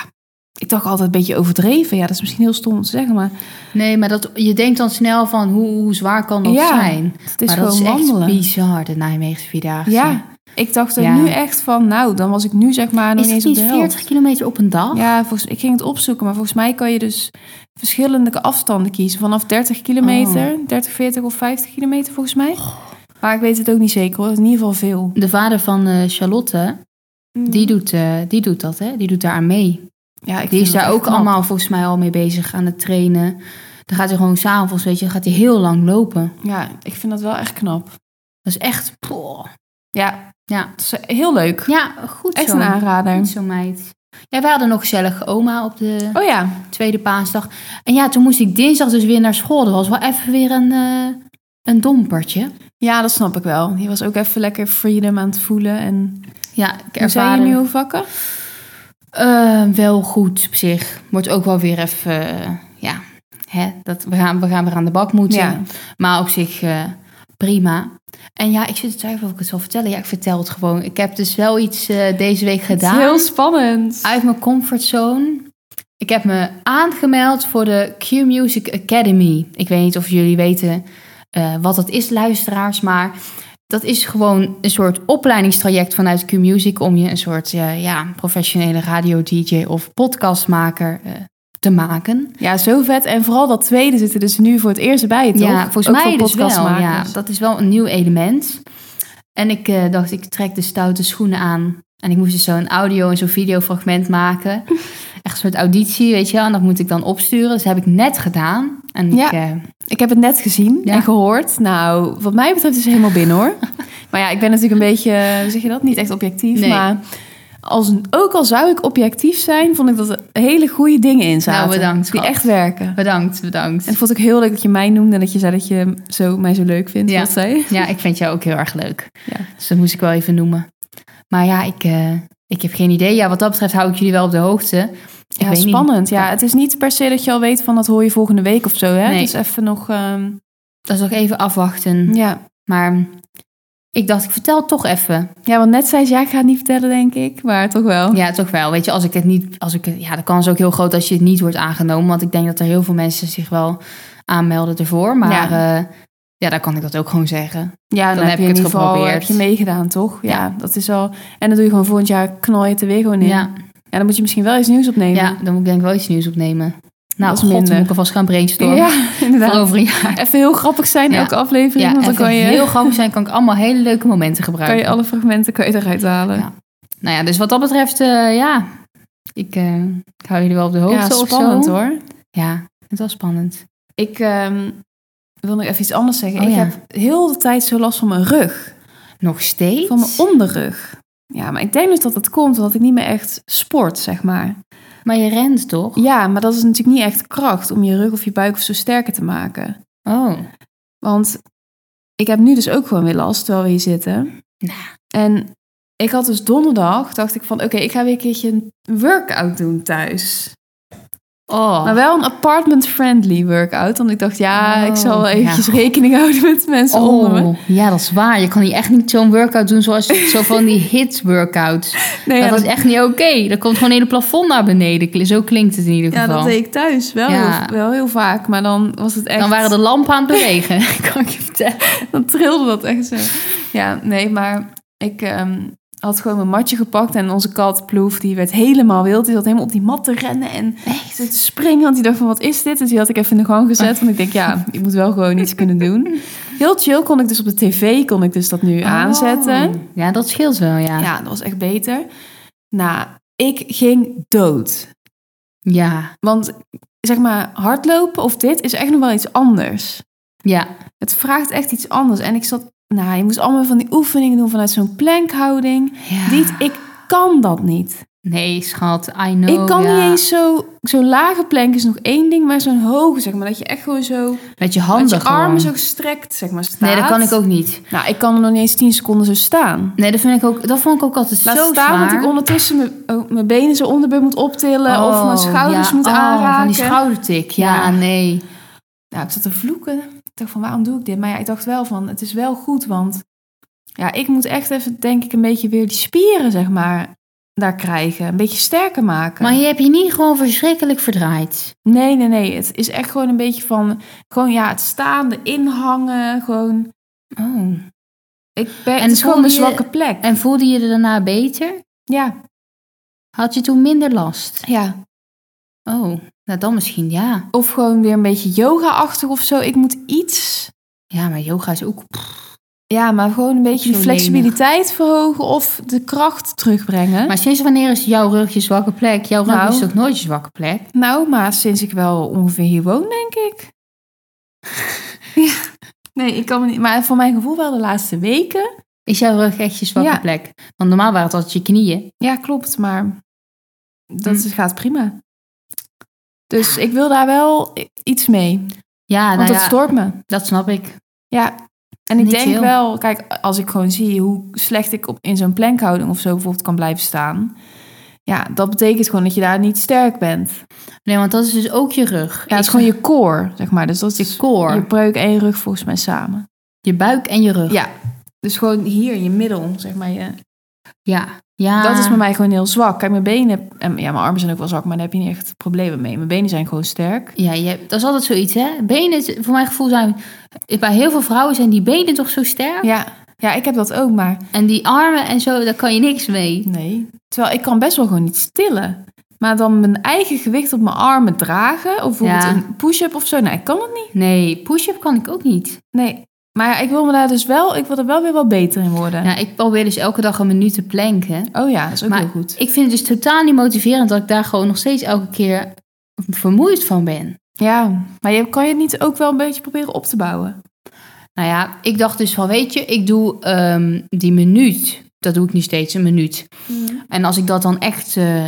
Speaker 1: ik dacht altijd een beetje overdreven. Ja, dat is misschien heel stom om te zeggen, maar
Speaker 2: Nee, maar dat, je denkt dan snel van hoe, hoe zwaar kan dat
Speaker 1: Ja,
Speaker 2: zijn?
Speaker 1: het is
Speaker 2: maar dat
Speaker 1: gewoon
Speaker 2: is echt
Speaker 1: wandelen.
Speaker 2: bizar, de Nijmeegse Vierdaagse.
Speaker 1: Ja, ik dacht er
Speaker 2: Ja.
Speaker 1: nu echt van nou, dan was ik nu zeg maar nog
Speaker 2: Is
Speaker 1: niet
Speaker 2: het
Speaker 1: eens op
Speaker 2: niet
Speaker 1: de helft.
Speaker 2: 40 kilometer op een dag?
Speaker 1: Ja, volgens, ik ging het opzoeken, maar volgens mij kan je dus verschillende afstanden kiezen. Vanaf 30 kilometer,
Speaker 2: Oh.
Speaker 1: 30, 40 of 50 kilometer volgens mij. Maar ik weet het ook niet zeker hoor, in ieder geval veel.
Speaker 2: De vader van eh, Charlotte, die doet, eh, die doet dat, hè? Die doet daar aan mee.
Speaker 1: ja, ik
Speaker 2: die
Speaker 1: vind
Speaker 2: is
Speaker 1: dat
Speaker 2: daar
Speaker 1: echt
Speaker 2: ook
Speaker 1: knap.
Speaker 2: allemaal volgens mij al mee bezig aan het trainen. Dan gaat hij gewoon s'avonds, weet je, dan gaat hij heel lang lopen.
Speaker 1: Ja, ik vind dat wel echt knap.
Speaker 2: Dat is echt... poh.
Speaker 1: Ja,
Speaker 2: Ja.
Speaker 1: het is heel leuk.
Speaker 2: Ja, goed
Speaker 1: echt
Speaker 2: zo.
Speaker 1: een aanrader.
Speaker 2: Goed zo, meid. Ja, wij hadden nog gezellig oma op de
Speaker 1: Oh ja,
Speaker 2: tweede paasdag. En ja, toen moest ik dinsdag dus weer naar school. Dat was wel even weer een, eh, een dompertje.
Speaker 1: Ja, dat snap ik wel. Die was ook even lekker freedom aan het voelen. En
Speaker 2: Ja, ik
Speaker 1: hoe zijn
Speaker 2: ervaar
Speaker 1: je nieuwe vakken?
Speaker 2: Eh, wel goed op zich. Wordt ook wel weer even, eh, ja, hè, dat we, gaan, we gaan weer aan de bak moeten.
Speaker 1: Ja.
Speaker 2: Maar op zich eh, prima. En ja, ik zit te twijfelen of ik het zal vertellen. Ja, ik vertel het gewoon. Ik heb dus wel iets eh, deze week gedaan.
Speaker 1: Heel spannend.
Speaker 2: Uit mijn comfortzone. Ik heb me aangemeld voor de Q Music Academy. Ik weet niet of jullie weten eh, wat dat is, luisteraars, maar dat is gewoon een soort opleidingstraject vanuit Q Music om je een soort eh, ja, professionele radio-DJ of podcastmaker eh, te maken.
Speaker 1: Ja, zo vet. En vooral dat tweede zitten dus nu voor het eerst bij, toch?
Speaker 2: Ja, volgens
Speaker 1: Ook
Speaker 2: mij
Speaker 1: voor
Speaker 2: dus wel. Ja,
Speaker 1: podcastmakers.
Speaker 2: dat is wel een nieuw element. En ik eh, dacht, ik trek de stoute schoenen aan. En ik moest dus zo'n audio en zo'n videofragment maken. Echt een soort auditie, weet je wel. En dat moet ik dan opsturen. Dus dat heb ik net gedaan. En
Speaker 1: Ja.
Speaker 2: ik, eh,
Speaker 1: Ik heb het net gezien
Speaker 2: Ja.
Speaker 1: en gehoord. Nou, wat mij betreft is het helemaal binnen, hoor. maar ja, ik ben natuurlijk een beetje, hoe zeg je dat, niet echt objectief.
Speaker 2: Nee.
Speaker 1: Maar als, ook al zou ik objectief zijn, vond ik dat er hele goede dingen in zaten.
Speaker 2: Nou, bedankt,
Speaker 1: Die
Speaker 2: schat.
Speaker 1: echt werken.
Speaker 2: bedankt, bedankt.
Speaker 1: En ik vond ik heel leuk dat je mij noemde en dat je zei dat je zo, mij zo leuk vindt,
Speaker 2: Ja.
Speaker 1: wat zei.
Speaker 2: Ja, ik vind jou ook heel erg leuk.
Speaker 1: Ja.
Speaker 2: Dus dat moest ik wel even noemen. Maar ja, ik, eh, ik heb geen idee. Ja, wat dat betreft hou ik jullie wel op de hoogte. Ik
Speaker 1: Ja,
Speaker 2: weet niet.
Speaker 1: spannend. Ja, het is niet per se dat je al weet van dat hoor je volgende week of zo. Hè?
Speaker 2: Nee.
Speaker 1: Het is even nog. ehm,
Speaker 2: Dat is nog even afwachten.
Speaker 1: ja.
Speaker 2: Maar ik dacht, ik vertel het toch even.
Speaker 1: ja, want net zei ze, ja, ik ga het niet vertellen, denk ik. Maar toch wel.
Speaker 2: Ja, toch wel. Weet je, als ik het niet, als ik, het- ja, de kans is ook heel groot als je het niet wordt aangenomen. Want ik denk dat er heel veel mensen zich wel aanmelden ervoor. Maar
Speaker 1: Ja.
Speaker 2: ja, ja dan kan ik dat ook gewoon zeggen.
Speaker 1: Ja,
Speaker 2: Dan heb
Speaker 1: je in
Speaker 2: ik het
Speaker 1: ieder geval
Speaker 2: geprobeerd.
Speaker 1: heb je meegedaan, toch? Ja, dat is al. En dan doe je gewoon volgend jaar knal je het er weer gewoon in.
Speaker 2: Ja,
Speaker 1: En dan moet je misschien wel iets nieuws opnemen.
Speaker 2: ja, dan moet ik denk ik wel iets nieuws opnemen. Nou,
Speaker 1: is
Speaker 2: god, dan
Speaker 1: minder.
Speaker 2: moet ik alvast gaan brainstormen.
Speaker 1: Ja,
Speaker 2: Voor
Speaker 1: inderdaad.
Speaker 2: over een jaar.
Speaker 1: Even heel grappig zijn
Speaker 2: Ja.
Speaker 1: elke aflevering.
Speaker 2: Ja,
Speaker 1: want dan
Speaker 2: even
Speaker 1: kan je,
Speaker 2: heel grappig zijn, kan ik allemaal hele leuke momenten
Speaker 1: kan
Speaker 2: gebruiken.
Speaker 1: je alle fragmenten kan je eruit halen.
Speaker 2: Ja. Nou ja, dus wat dat betreft, eh, ja, ik, eh, ik hou jullie wel op de hoogte of zo.
Speaker 1: spannend hoor.
Speaker 2: Ja, het was spannend.
Speaker 1: Ik ehm, wil nog even iets anders zeggen.
Speaker 2: Oh,
Speaker 1: ik
Speaker 2: ja.
Speaker 1: heb heel de tijd zo last van mijn rug.
Speaker 2: Nog steeds?
Speaker 1: Van mijn onderrug. Ja, maar ik denk dus dat dat komt omdat ik niet meer echt sport, zeg maar.
Speaker 2: Maar je rent toch?
Speaker 1: Ja, maar dat is natuurlijk niet echt kracht om je rug of je buik of zo sterker te maken.
Speaker 2: Oh.
Speaker 1: Want ik heb nu dus ook gewoon weer last terwijl we hier zitten.
Speaker 2: Nou.
Speaker 1: En ik had dus donderdag, dacht ik van oké, ik ga weer een keertje een workout doen thuis.
Speaker 2: Oh.
Speaker 1: Maar wel een apartment-friendly workout. Want ik dacht, ja,
Speaker 2: Oh,
Speaker 1: ik zal wel
Speaker 2: ja.
Speaker 1: eventjes rekening houden met mensen onder me.
Speaker 2: Oh, ja, dat is waar. Je kan hier echt niet zo'n workout doen zoals je- zo van die hit-workouts.
Speaker 1: Nee, ja,
Speaker 2: dat is echt niet oké. Dat komt gewoon een hele plafond naar beneden. Kli- Zo klinkt het in ieder
Speaker 1: ja,
Speaker 2: geval.
Speaker 1: dat deed ik thuis wel,
Speaker 2: Ja.
Speaker 1: heel, wel heel vaak. Maar dan was het echt...
Speaker 2: Dan waren de lampen aan het bewegen, kan ik je vertellen.
Speaker 1: Dan trilde dat echt zo. Ja, nee, maar ik ehm, had gewoon mijn matje gepakt en onze kat Ploef, die werd helemaal wild. Die zat helemaal op die mat te rennen en zo te springen, want die dacht van wat is dit? Dus die had ik even in de gang gezet, want ik denk ja, ik moet wel gewoon iets kunnen doen. Heel chill kon ik dus op de tv, kon ik dus dat nu aanzetten.
Speaker 2: Oh. Ja, dat scheelt wel, ja. Ja.
Speaker 1: Ja, dat was echt beter. Nou, ik ging dood.
Speaker 2: Ja.
Speaker 1: Want zeg maar, hardlopen of dit is echt nog wel iets anders.
Speaker 2: ja.
Speaker 1: Het vraagt echt iets anders. En ik zat, nou, je moest allemaal van die oefeningen doen vanuit zo'n plankhouding. Niet, ik kan dat niet.
Speaker 2: Nee, schat, I know.
Speaker 1: ik kan
Speaker 2: Oh, ja.
Speaker 1: niet eens zo, zo'n lage plank is nog één ding, maar zo'n hoge, zeg maar, dat je echt gewoon zo,
Speaker 2: Met je
Speaker 1: met
Speaker 2: handen
Speaker 1: je
Speaker 2: gewoon.
Speaker 1: armen zo gestrekt, zeg maar, staat.
Speaker 2: Nee, dat kan ik ook niet.
Speaker 1: Nou, ik kan er nog niet eens tien seconden zo staan.
Speaker 2: Nee, dat, vind ik ook, dat vond ik ook altijd
Speaker 1: Laat
Speaker 2: zo
Speaker 1: staan
Speaker 2: zwaar.
Speaker 1: dat ik ondertussen mijn, ook mijn benen zo onderbeuk moet optillen of mijn
Speaker 2: Oh,
Speaker 1: schouders
Speaker 2: ja.
Speaker 1: moet
Speaker 2: Oh,
Speaker 1: aanraken.
Speaker 2: Van die schoudertik, ja,
Speaker 1: Ja.
Speaker 2: nee.
Speaker 1: Nou, ik zat te vloeken. Ik dacht van, waarom doe ik dit? Maar ja, ik dacht wel van, het is wel goed, want Ja, ik moet echt even, denk ik, een beetje weer die spieren, zeg maar, daar krijgen. Een beetje sterker maken.
Speaker 2: Maar je hebt je niet gewoon verschrikkelijk verdraaid.
Speaker 1: Nee, nee, nee. Het is echt gewoon een beetje van, gewoon ja, het staande, inhangen, gewoon.
Speaker 2: Oh.
Speaker 1: Ik ben,
Speaker 2: En
Speaker 1: het is gewoon
Speaker 2: voelde
Speaker 1: mijn
Speaker 2: je-
Speaker 1: zwakke plek.
Speaker 2: En voelde je er daarna beter?
Speaker 1: Ja,
Speaker 2: Had je toen minder last?
Speaker 1: ja.
Speaker 2: Oh, nou dan misschien ja.
Speaker 1: Of gewoon weer een beetje yoga-achtig of zo. Ik moet iets.
Speaker 2: Ja, maar yoga is ook...
Speaker 1: Ja, maar gewoon een beetje
Speaker 2: Zo
Speaker 1: die flexibiliteit verhogen of de kracht terugbrengen.
Speaker 2: Maar sinds wanneer is jouw rug je zwakke plek? Jouw rug
Speaker 1: Nou.
Speaker 2: is toch nooit je zwakke plek?
Speaker 1: Nou, maar sinds ik wel ongeveer hier woon, denk ik. ja. Nee, ik kan me niet. Maar voor mijn gevoel wel de laatste weken.
Speaker 2: Is jouw rug echt je zwakke
Speaker 1: Ja.
Speaker 2: plek? Want normaal waren het altijd je knieën.
Speaker 1: Ja, klopt, maar dat
Speaker 2: Hm.
Speaker 1: gaat prima. Dus ik wil daar wel i- iets mee.
Speaker 2: Ja, nou
Speaker 1: want dat
Speaker 2: ja,
Speaker 1: stoort me.
Speaker 2: dat snap ik.
Speaker 1: Ja. En ik
Speaker 2: Niet
Speaker 1: denk
Speaker 2: chill.
Speaker 1: wel, kijk, als ik gewoon zie hoe slecht ik op, in zo'n plankhouding of zo bijvoorbeeld kan blijven staan. Ja, dat betekent gewoon dat je daar niet sterk bent.
Speaker 2: Nee, want dat is dus ook je rug.
Speaker 1: Ja, het is gewoon je core, zeg maar. Dus dat is
Speaker 2: je core.
Speaker 1: je
Speaker 2: Je,
Speaker 1: breuk en je rug volgens mij samen.
Speaker 2: buik en je rug.
Speaker 1: Ja. Dus gewoon hier, je middel, zeg maar. Je, Ah.
Speaker 2: Ja. ja.
Speaker 1: Dat is bij mij gewoon heel zwak. Kijk, mijn benen, en ja, mijn armen zijn ook wel zwak, maar daar heb je niet echt problemen mee. Mijn benen zijn gewoon sterk.
Speaker 2: Ja, je, hebt- dat is altijd zoiets, hè? Benen, is- voor mijn gevoel zijn... Bij heel veel vrouwen zijn die benen toch zo sterk?
Speaker 1: Ja, ja ik heb dat ook, maar
Speaker 2: En die armen en zo, daar kan je niks mee.
Speaker 1: nee. Terwijl ik kan best wel gewoon niet stillen. Maar dan mijn eigen gewicht op mijn armen dragen, of bijvoorbeeld
Speaker 2: Ja.
Speaker 1: een push-up of zo. Nee, ik kan het niet.
Speaker 2: Nee, push-up kan ik ook niet.
Speaker 1: Nee. Maar ja, ik wil me daar dus wel, ik wil er wel weer wat beter in worden.
Speaker 2: Ja, ik probeer dus elke dag een minuut te planken.
Speaker 1: Oh ja, dat is ook
Speaker 2: Maar
Speaker 1: heel goed.
Speaker 2: Ik vind het dus totaal niet motiverend dat ik daar gewoon nog steeds elke keer vermoeid van ben.
Speaker 1: Ja, maar je, kan je het niet ook wel een beetje proberen op te bouwen?
Speaker 2: Nou ja, ik dacht dus van, weet je, ik doe ehm, die minuut. Dat doe ik nu steeds, een minuut.
Speaker 1: Mm.
Speaker 2: En als ik dat dan echt eh,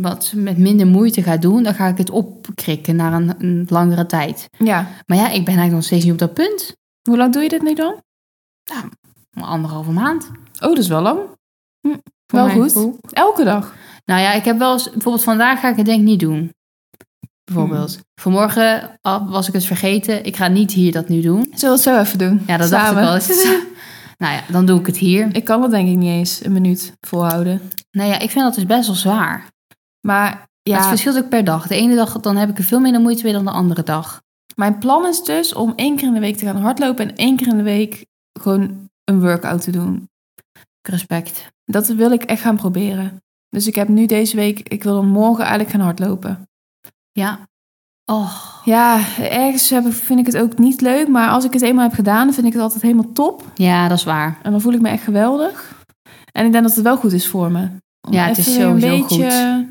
Speaker 2: wat met minder moeite ga doen, dan ga ik het opkrikken naar een, een langere tijd.
Speaker 1: Ja.
Speaker 2: Maar ja, ik ben eigenlijk nog steeds niet op dat punt.
Speaker 1: Hoe lang doe je dit nu dan?
Speaker 2: Een Anderhalve maand.
Speaker 1: Oh, dat is wel lang. Hm,
Speaker 2: voor
Speaker 1: Wel
Speaker 2: mijn
Speaker 1: goed.
Speaker 2: gevoel.
Speaker 1: Elke dag.
Speaker 2: Nou ja, ik heb wel eens, bijvoorbeeld vandaag ga ik het denk ik niet doen. Bijvoorbeeld.
Speaker 1: Hmm.
Speaker 2: Vanmorgen ah, was ik het vergeten. Ik ga niet hier dat nu doen.
Speaker 1: Zullen we het zo even doen?
Speaker 2: Ja, dat
Speaker 1: Samen.
Speaker 2: dacht ik wel eens. nou ja, dan doe ik het hier.
Speaker 1: Ik kan dat denk ik niet eens een minuut volhouden.
Speaker 2: Nou ja, ik vind dat dus best wel zwaar.
Speaker 1: Maar
Speaker 2: Het
Speaker 1: ja,
Speaker 2: verschilt ook per dag. De ene dag dan heb ik er veel minder moeite mee dan de andere dag.
Speaker 1: mijn plan is dus om één keer in de week te gaan hardlopen en één keer in de week gewoon een workout te doen.
Speaker 2: Respect.
Speaker 1: Dat wil ik echt gaan proberen. Dus ik heb nu deze week, ik wil dan morgen eigenlijk gaan hardlopen.
Speaker 2: Ja. Oh,
Speaker 1: Ja, ergens heb ik- vind ik het ook niet leuk, maar als ik het eenmaal heb gedaan, dan vind ik het altijd helemaal top.
Speaker 2: ja, dat is waar.
Speaker 1: En dan voel ik me echt geweldig. En ik denk dat het wel goed is voor me. Om
Speaker 2: Ja, het
Speaker 1: even
Speaker 2: is
Speaker 1: weer een
Speaker 2: sowieso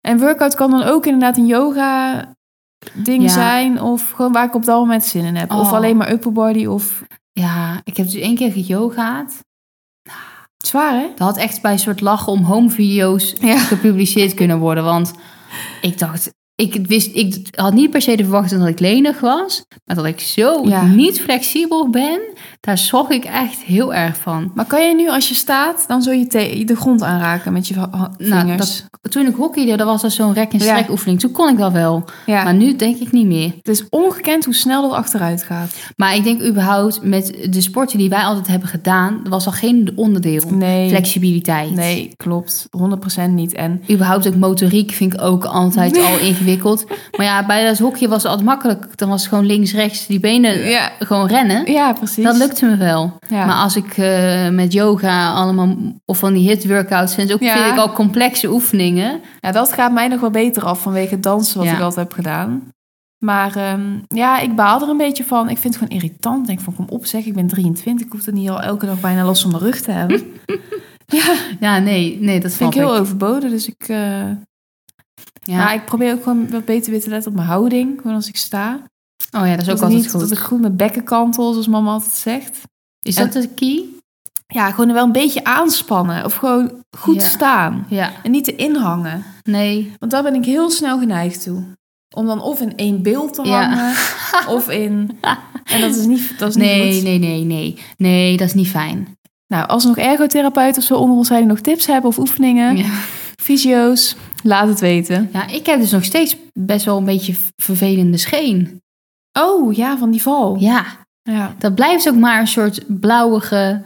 Speaker 1: En workout kan dan ook inderdaad een yoga ding
Speaker 2: Ja.
Speaker 1: zijn. Of gewoon waar ik op dat moment zin in heb. Of
Speaker 2: Oh.
Speaker 1: alleen maar upper body. Of...
Speaker 2: Ja, ik heb dus één keer geyogaat.
Speaker 1: Zwaar, hè?
Speaker 2: Dat had echt bij een soort lachen om home video's
Speaker 1: Ja.
Speaker 2: gepubliceerd kunnen worden. Want ik dacht, ik, wist, ik had niet per se de verwachting dat ik lenig was. Maar dat ik zo
Speaker 1: Ja.
Speaker 2: niet flexibel ben, daar schrok ik echt heel erg van.
Speaker 1: Maar kan je nu als je staat, dan zo je te- de grond aanraken met je va- ha- vingers?
Speaker 2: Nou, dat, toen ik hockeyde, dat was dat zo'n rek- en
Speaker 1: Ja.
Speaker 2: strek oefening. Toen kon ik dat wel.
Speaker 1: ja.
Speaker 2: Maar nu denk ik niet meer.
Speaker 1: Het is ongekend hoe snel dat achteruit gaat.
Speaker 2: Maar ik denk überhaupt, met de sporten die wij altijd hebben gedaan, was al geen onderdeel.
Speaker 1: Nee,
Speaker 2: Flexibiliteit.
Speaker 1: nee klopt. 100% niet. En
Speaker 2: Überhaupt ook motoriek vind ik ook altijd al ingewikkeld. Maar ja, bij dat hokje was het altijd makkelijk. Dan was het gewoon links, rechts, die benen
Speaker 1: Ja.
Speaker 2: gewoon rennen.
Speaker 1: ja, precies.
Speaker 2: Dat lukte me wel.
Speaker 1: Ja.
Speaker 2: Maar als ik eh, met yoga allemaal, of van die hit workouts, en ook
Speaker 1: Ja.
Speaker 2: vind ik al complexe oefeningen.
Speaker 1: Ja, Nou, dat gaat mij nog wel beter af vanwege het dansen wat
Speaker 2: Ja.
Speaker 1: ik altijd heb gedaan. Maar ehm, ja, ik baal er een beetje van. Ik vind het gewoon irritant. Ik denk van, kom op zeg, ik ben 23. Ik hoef het niet al elke dag bijna los van mijn rug te hebben. Dat
Speaker 2: Ja, nee, nee, dat
Speaker 1: vind
Speaker 2: snap
Speaker 1: ik heel overboden. Dus ik, eh,
Speaker 2: Ja.
Speaker 1: Maar ik probeer ook gewoon wat beter weer te letten op mijn houding. Gewoon als ik sta.
Speaker 2: Oh ja, dat is ook
Speaker 1: Dat
Speaker 2: altijd
Speaker 1: niet,
Speaker 2: goed.
Speaker 1: Dat ik goed mijn bekken kantel, zoals mama altijd zegt.
Speaker 2: Is
Speaker 1: En-
Speaker 2: dat de key?
Speaker 1: Ja, gewoon wel een beetje aanspannen. Of gewoon goed
Speaker 2: Ja.
Speaker 1: staan.
Speaker 2: Ja,
Speaker 1: En niet te inhangen.
Speaker 2: nee.
Speaker 1: Want daar ben ik heel snel geneigd toe. Om dan of in één beeld te
Speaker 2: Ja.
Speaker 1: hangen, of in... En dat is niet, dat is niet
Speaker 2: Nee,
Speaker 1: goed.
Speaker 2: nee, nee, nee. Nee, dat is niet fijn.
Speaker 1: Nou, als er nog ergotherapeuten of zo onder ons zijn die nog tips hebben of oefeningen,
Speaker 2: Ja.
Speaker 1: fysio's, laat het weten.
Speaker 2: ja, ik heb dus nog steeds best wel een beetje vervelende scheen.
Speaker 1: Oh, ja, van die val.
Speaker 2: Ja,
Speaker 1: Ja.
Speaker 2: dat blijft ook maar een soort blauwige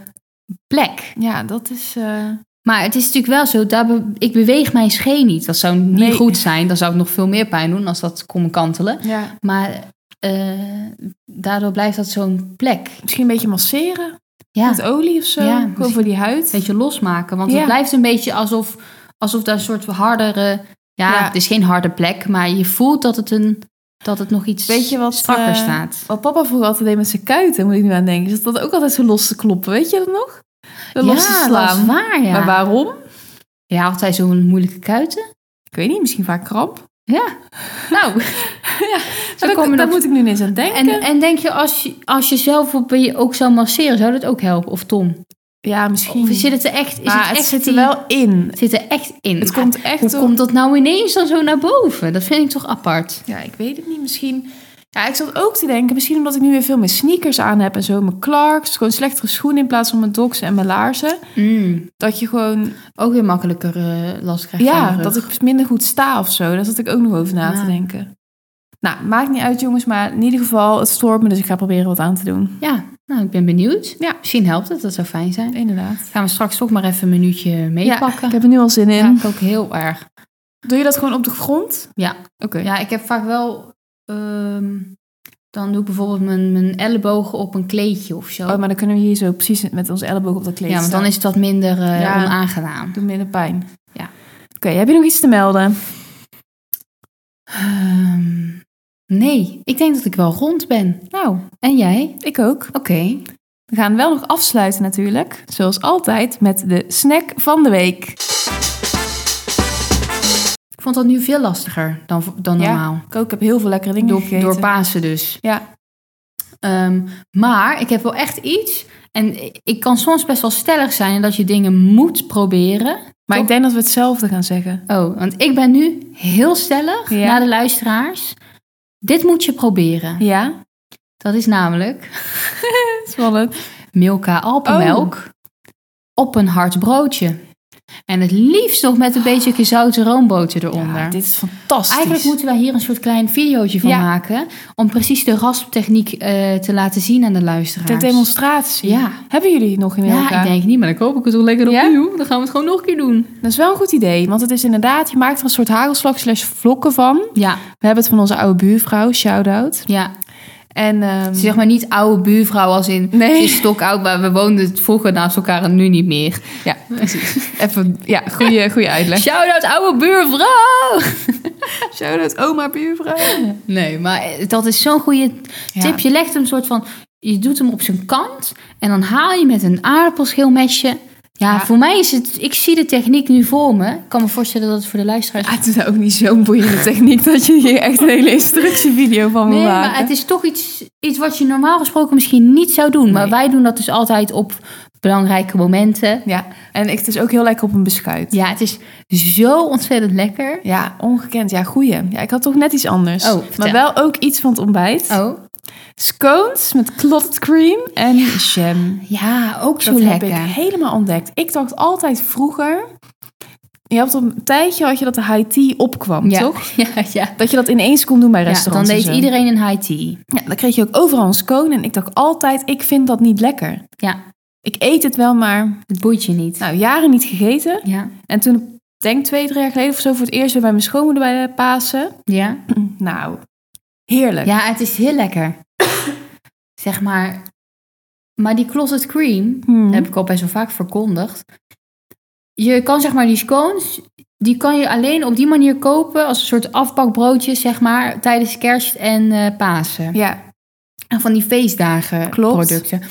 Speaker 2: plek.
Speaker 1: Ja, dat is... eh,
Speaker 2: Maar het is natuurlijk wel zo, daar be- ik beweeg mijn scheen niet. Dat zou niet
Speaker 1: Nee.
Speaker 2: goed zijn. Dan zou het nog veel meer pijn doen als dat kon kantelen.
Speaker 1: ja.
Speaker 2: Maar eh, daardoor blijft dat zo'n plek.
Speaker 1: Misschien een beetje masseren
Speaker 2: Ja,
Speaker 1: met olie of zo.
Speaker 2: Ja,
Speaker 1: Gewoon voor die huid.
Speaker 2: een beetje losmaken. Want
Speaker 1: Ja.
Speaker 2: het blijft een beetje alsof, alsof daar een soort hardere... Ja,
Speaker 1: Ja.
Speaker 2: het is geen harde plek, maar je voelt dat het, een, dat het nog iets
Speaker 1: Weet je wat,
Speaker 2: strakker
Speaker 1: eh,
Speaker 2: staat.
Speaker 1: Wat papa vroeger altijd deed met zijn kuiten, moet ik nu aan denken. Is dat ook altijd zo los te kloppen, weet je dat nog? Zo los te
Speaker 2: dat is
Speaker 1: slaan.
Speaker 2: waar, ja.
Speaker 1: Maar waarom?
Speaker 2: Ja, had hij zo'n moeilijke kuiten?
Speaker 1: Ik weet niet, misschien vaak kramp.
Speaker 2: Ja. Nou,
Speaker 1: Maar dat-
Speaker 2: komen
Speaker 1: daar
Speaker 2: dat-
Speaker 1: moet ik nu eens aan denken.
Speaker 2: en, en denk je als, je als je zelf op je ook zou masseren, zou dat ook helpen? Of Tom?
Speaker 1: ja, misschien.
Speaker 2: Of zit het er echt, is
Speaker 1: maar
Speaker 2: het
Speaker 1: het,
Speaker 2: echt
Speaker 1: zit er
Speaker 2: die-
Speaker 1: wel in.
Speaker 2: het zit er echt in?
Speaker 1: Het
Speaker 2: Maar
Speaker 1: komt echt
Speaker 2: Hoe
Speaker 1: door-
Speaker 2: komt dat nou ineens dan zo naar boven? Dat vind ik toch apart.
Speaker 1: Ja, ik weet het niet. Misschien... Ja, ik zat ook te denken, misschien omdat ik nu weer veel meer sneakers aan heb en zo. Mijn Clarks, dus gewoon slechtere schoenen in plaats van mijn doxen en mijn laarzen. Dat je gewoon...
Speaker 2: Mm. Ook weer makkelijker eh, last krijgen
Speaker 1: Ja,
Speaker 2: van je rug.
Speaker 1: dat ik minder goed sta of zo. Daar zat ik ook nog over na
Speaker 2: Ja.
Speaker 1: te denken. Nou, maakt niet uit jongens, maar in ieder geval, het stoort me. Dus ik ga proberen wat aan te doen.
Speaker 2: Ja, nou, ik ben benieuwd.
Speaker 1: Ja.
Speaker 2: Misschien helpt het, dat zou fijn zijn.
Speaker 1: Inderdaad.
Speaker 2: Gaan we straks toch maar even een minuutje meepakken.
Speaker 1: Ik heb er nu al zin in.
Speaker 2: Ja, ik ook heel erg.
Speaker 1: Doe je dat gewoon op de grond?
Speaker 2: Ja.
Speaker 1: Oké.
Speaker 2: Ja, ik heb vaak wel... ehm, dan doe ik bijvoorbeeld mijn, mijn ellebogen op een kleedje of zo.
Speaker 1: Oh, maar dan kunnen we hier zo precies met onze elleboog op dat kleed
Speaker 2: ja, want
Speaker 1: staan.
Speaker 2: dan is het wat minder eh,
Speaker 1: Ja.
Speaker 2: onaangenaam.
Speaker 1: Doet minder pijn.
Speaker 2: Ja.
Speaker 1: Oké, heb je nog iets te melden?
Speaker 2: Ehm, nee, ik denk dat ik wel rond ben.
Speaker 1: Nou,
Speaker 2: En jij?
Speaker 1: ik ook.
Speaker 2: Oké.
Speaker 1: We gaan wel nog afsluiten natuurlijk, zoals altijd, met de snack van de week.
Speaker 2: Ik vond dat nu veel lastiger dan, v- dan
Speaker 1: Ja,
Speaker 2: normaal.
Speaker 1: Ik ook heb heel veel lekkere dingen
Speaker 2: Door,
Speaker 1: gegeten.
Speaker 2: door Pasen dus.
Speaker 1: Ja,
Speaker 2: Ehm, maar ik heb wel echt iets. En ik kan soms best wel stellig zijn dat je dingen moet proberen.
Speaker 1: maar
Speaker 2: Toch?
Speaker 1: ik denk dat we hetzelfde gaan zeggen.
Speaker 2: Oh, want ik ben nu heel stellig
Speaker 1: Ja.
Speaker 2: naar de luisteraars. Dit moet je proberen.
Speaker 1: Ja,
Speaker 2: Dat is namelijk
Speaker 1: dat is wel leuk.
Speaker 2: Milka alpenmelk
Speaker 1: Oh.
Speaker 2: op een hard broodje. En het liefst nog met een beetje gezouten roomboter eronder.
Speaker 1: Oh. Ja, dit is fantastisch.
Speaker 2: Eigenlijk moeten wij hier een soort klein videootje van
Speaker 1: Ja.
Speaker 2: maken. Om precies de rasptechniek eh, te laten zien aan de luisteraars.
Speaker 1: de demonstratie.
Speaker 2: Ja.
Speaker 1: Hebben jullie het nog in
Speaker 2: Ja,
Speaker 1: elkaar?
Speaker 2: ik denk niet, maar dan koop ik het toch lekker
Speaker 1: Ja?
Speaker 2: opnieuw. Dan gaan we het gewoon nog een keer doen.
Speaker 1: Dat is wel een goed idee, want het is inderdaad, je maakt er een soort hagelslag slash vlokken van.
Speaker 2: Ja,
Speaker 1: We hebben het van onze oude buurvrouw, shout-out.
Speaker 2: ja.
Speaker 1: En ehm,
Speaker 2: Zeg maar niet oude buurvrouw als in...
Speaker 1: Nee.
Speaker 2: Ze is stokoud, maar we woonden vroeger naast elkaar en nu niet meer.
Speaker 1: Ja, precies. Even, ja, goede, goede uitleg.
Speaker 2: Shout-out oude buurvrouw!
Speaker 1: Shout-out oma buurvrouw.
Speaker 2: Nee, maar eh, dat is zo'n goede
Speaker 1: Ja.
Speaker 2: tip. Je legt hem soort van... Je doet hem op zijn kant en dan haal je met een aardappelschilmesje... Ja,
Speaker 1: Ja.
Speaker 2: voor mij is het... Ik zie de techniek nu voor me. Ik kan me voorstellen dat het voor de luisteraars...
Speaker 1: Ja, het is ook niet zo'n boeiende techniek dat je hier echt een hele instructievideo van
Speaker 2: Nee,
Speaker 1: moet maken.
Speaker 2: maar het is toch iets, iets wat je normaal gesproken misschien niet zou doen. Maar
Speaker 1: Nee.
Speaker 2: wij doen dat dus altijd op belangrijke momenten.
Speaker 1: Ja, en het is ook heel lekker op een beschuit.
Speaker 2: Ja, het is zo ontzettend lekker.
Speaker 1: Ja, ongekend. Ja, goeie. Ja, ik had toch net iets anders.
Speaker 2: Oh, vertel.
Speaker 1: maar wel ook iets van het ontbijt.
Speaker 2: Oh.
Speaker 1: Scones met clotted cream en jam.
Speaker 2: Ja, ook zo
Speaker 1: Dat heb
Speaker 2: lekker.
Speaker 1: ik helemaal ontdekt. Ik dacht altijd vroeger... Je had op een tijdje had je dat de high tea opkwam,
Speaker 2: ja.
Speaker 1: toch?
Speaker 2: Ja, ja.
Speaker 1: Dat je dat ineens kon doen bij
Speaker 2: Ja, dan
Speaker 1: restaurants. en
Speaker 2: deed
Speaker 1: zo.
Speaker 2: iedereen een high tea.
Speaker 1: Ja, dan kreeg je ook overal een scone. En ik dacht altijd, ik vind dat niet lekker.
Speaker 2: Ja,
Speaker 1: Ik eet het wel, maar
Speaker 2: het boeit je niet.
Speaker 1: nou, jaren niet gegeten.
Speaker 2: Ja.
Speaker 1: En toen, denk twee, drie jaar geleden of zo, voor het eerst weer bij mijn schoonmoeder bij de Pasen.
Speaker 2: Ja.
Speaker 1: Nou, heerlijk.
Speaker 2: ja, het is heel lekker. zeg maar. Maar die closet cream,
Speaker 1: Hmm.
Speaker 2: heb ik al best wel vaak verkondigd. Je kan zeg maar die scones, die kan je alleen op die manier kopen als een soort afbakbroodjes, zeg maar, tijdens kerst en eh, Pasen.
Speaker 1: Ja,
Speaker 2: En van die feestdagen
Speaker 1: Klopt.
Speaker 2: producten.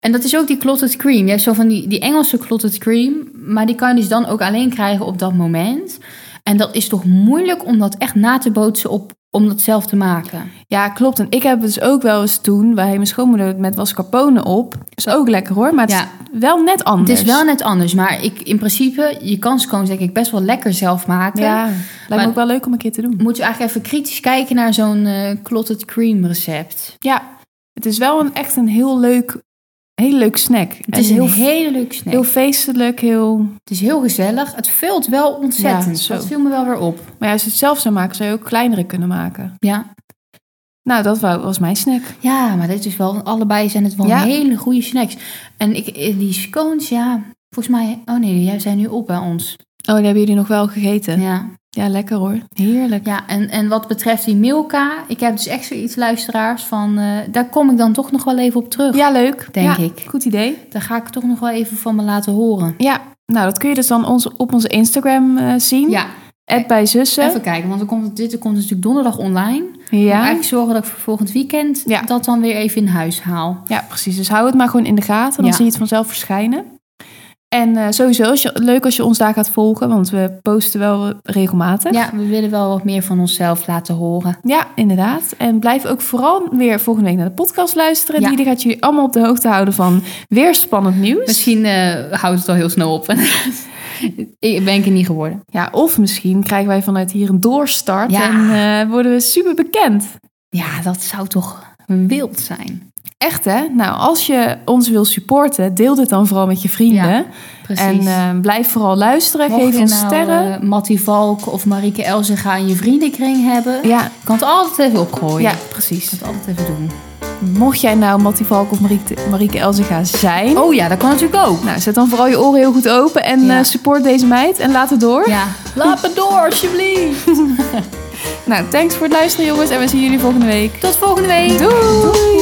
Speaker 2: En dat is ook die clotted cream. Je hebt zo van die, die Engelse clotted cream, maar die kan je dus dan ook alleen krijgen op dat moment. En dat is toch moeilijk om dat echt na te bootsen op, om dat zelf te maken.
Speaker 1: ja, klopt. En ik heb dus ook wel eens toen bij mijn schoonmoeder met mascarpone op. Is ook lekker hoor, maar het
Speaker 2: Ja.
Speaker 1: is wel net
Speaker 2: Het
Speaker 1: anders.
Speaker 2: is wel net anders, maar ik, in principe, je kan scones denk ik best wel lekker zelf maken.
Speaker 1: Ja, lijkt
Speaker 2: Maar-
Speaker 1: me ook wel leuk om een keer te doen.
Speaker 2: moet je eigenlijk even kritisch kijken naar zo'n eh clotted cream recept.
Speaker 1: Ja, het is wel een, echt een heel leuk, heel leuk snack.
Speaker 2: Het is
Speaker 1: en
Speaker 2: een
Speaker 1: heel,
Speaker 2: hele leuke snack.
Speaker 1: heel feestelijk, heel...
Speaker 2: het is heel gezellig. Het vult wel ontzettend.
Speaker 1: Ja, zo.
Speaker 2: dat viel me wel weer op.
Speaker 1: Maar ja, als je het zelf zou maken, zou je ook kleinere kunnen maken.
Speaker 2: Ja.
Speaker 1: Nou, dat wa- was mijn snack.
Speaker 2: Ja, maar dit is wel, allebei zijn het wel
Speaker 1: Ja.
Speaker 2: hele goede snacks. En ik, eh, die scones, ja, volgens mij, oh nee, jij zijn nu op bij ons.
Speaker 1: Oh, die hebben jullie nog wel gegeten. Ja,
Speaker 2: Ja,
Speaker 1: lekker hoor. Heerlijk.
Speaker 2: ja en, en wat betreft die Milka, ik heb dus echt zoiets luisteraars van, eh, daar kom ik dan toch nog wel even op terug,
Speaker 1: Ja, leuk.
Speaker 2: denk
Speaker 1: Ja,
Speaker 2: ik.
Speaker 1: Goed idee.
Speaker 2: Daar ga ik toch nog wel even van me laten horen.
Speaker 1: Ja, nou dat kun je dus dan ons, op onze Instagram eh, zien.
Speaker 2: Ja,
Speaker 1: App bij zussen.
Speaker 2: even kijken, want er komt, dit komt natuurlijk donderdag online. Ik moet
Speaker 1: ja.
Speaker 2: eigenlijk zorgen dat ik voor volgend weekend
Speaker 1: Ja.
Speaker 2: dat dan weer even in huis haal.
Speaker 1: ja, precies. Dus hou het maar gewoon in de gaten. Dan
Speaker 2: Ja.
Speaker 1: zie je het vanzelf verschijnen. En eh, sowieso is je, leuk als je ons daar gaat volgen, want we posten wel regelmatig.
Speaker 2: Ja, we willen wel wat meer van onszelf laten horen.
Speaker 1: Ja, inderdaad. En blijf ook vooral weer volgende week naar de podcast luisteren.
Speaker 2: Ja.
Speaker 1: Die gaat jullie allemaal op de hoogte houden van weer spannend nieuws.
Speaker 2: Misschien eh, houdt het al heel snel op. ik ben ik er niet geworden.
Speaker 1: Ja, of misschien krijgen wij vanuit hier een doorstart
Speaker 2: Ja.
Speaker 1: en eh, worden we super bekend.
Speaker 2: Ja, dat zou toch wild zijn.
Speaker 1: Echt hè? Nou, als je ons wil supporten, deel dit dan vooral met je vrienden.
Speaker 2: Ja,
Speaker 1: en
Speaker 2: Precies.
Speaker 1: eh, blijf vooral luisteren,
Speaker 2: Mocht
Speaker 1: geef
Speaker 2: je
Speaker 1: ons
Speaker 2: nou,
Speaker 1: sterren.
Speaker 2: eh, Mattie Valk of Marieke Elzega in je vriendenkring hebben.
Speaker 1: ja,
Speaker 2: Je kan het altijd even opgooien.
Speaker 1: ja,
Speaker 2: Je
Speaker 1: precies.
Speaker 2: kan het altijd even doen.
Speaker 1: Mocht jij nou Mattie Valk of Marieke, Marieke Elzega zijn...
Speaker 2: Oh ja, dat kan natuurlijk ook.
Speaker 1: Nou, zet dan vooral je oren heel goed open en
Speaker 2: Ja.
Speaker 1: eh, support deze meid. En laat het door.
Speaker 2: Ja.
Speaker 1: Laat het door, alsjeblieft. nou, thanks voor het luisteren jongens. En we zien jullie volgende week.
Speaker 2: Tot volgende week.
Speaker 1: Doei.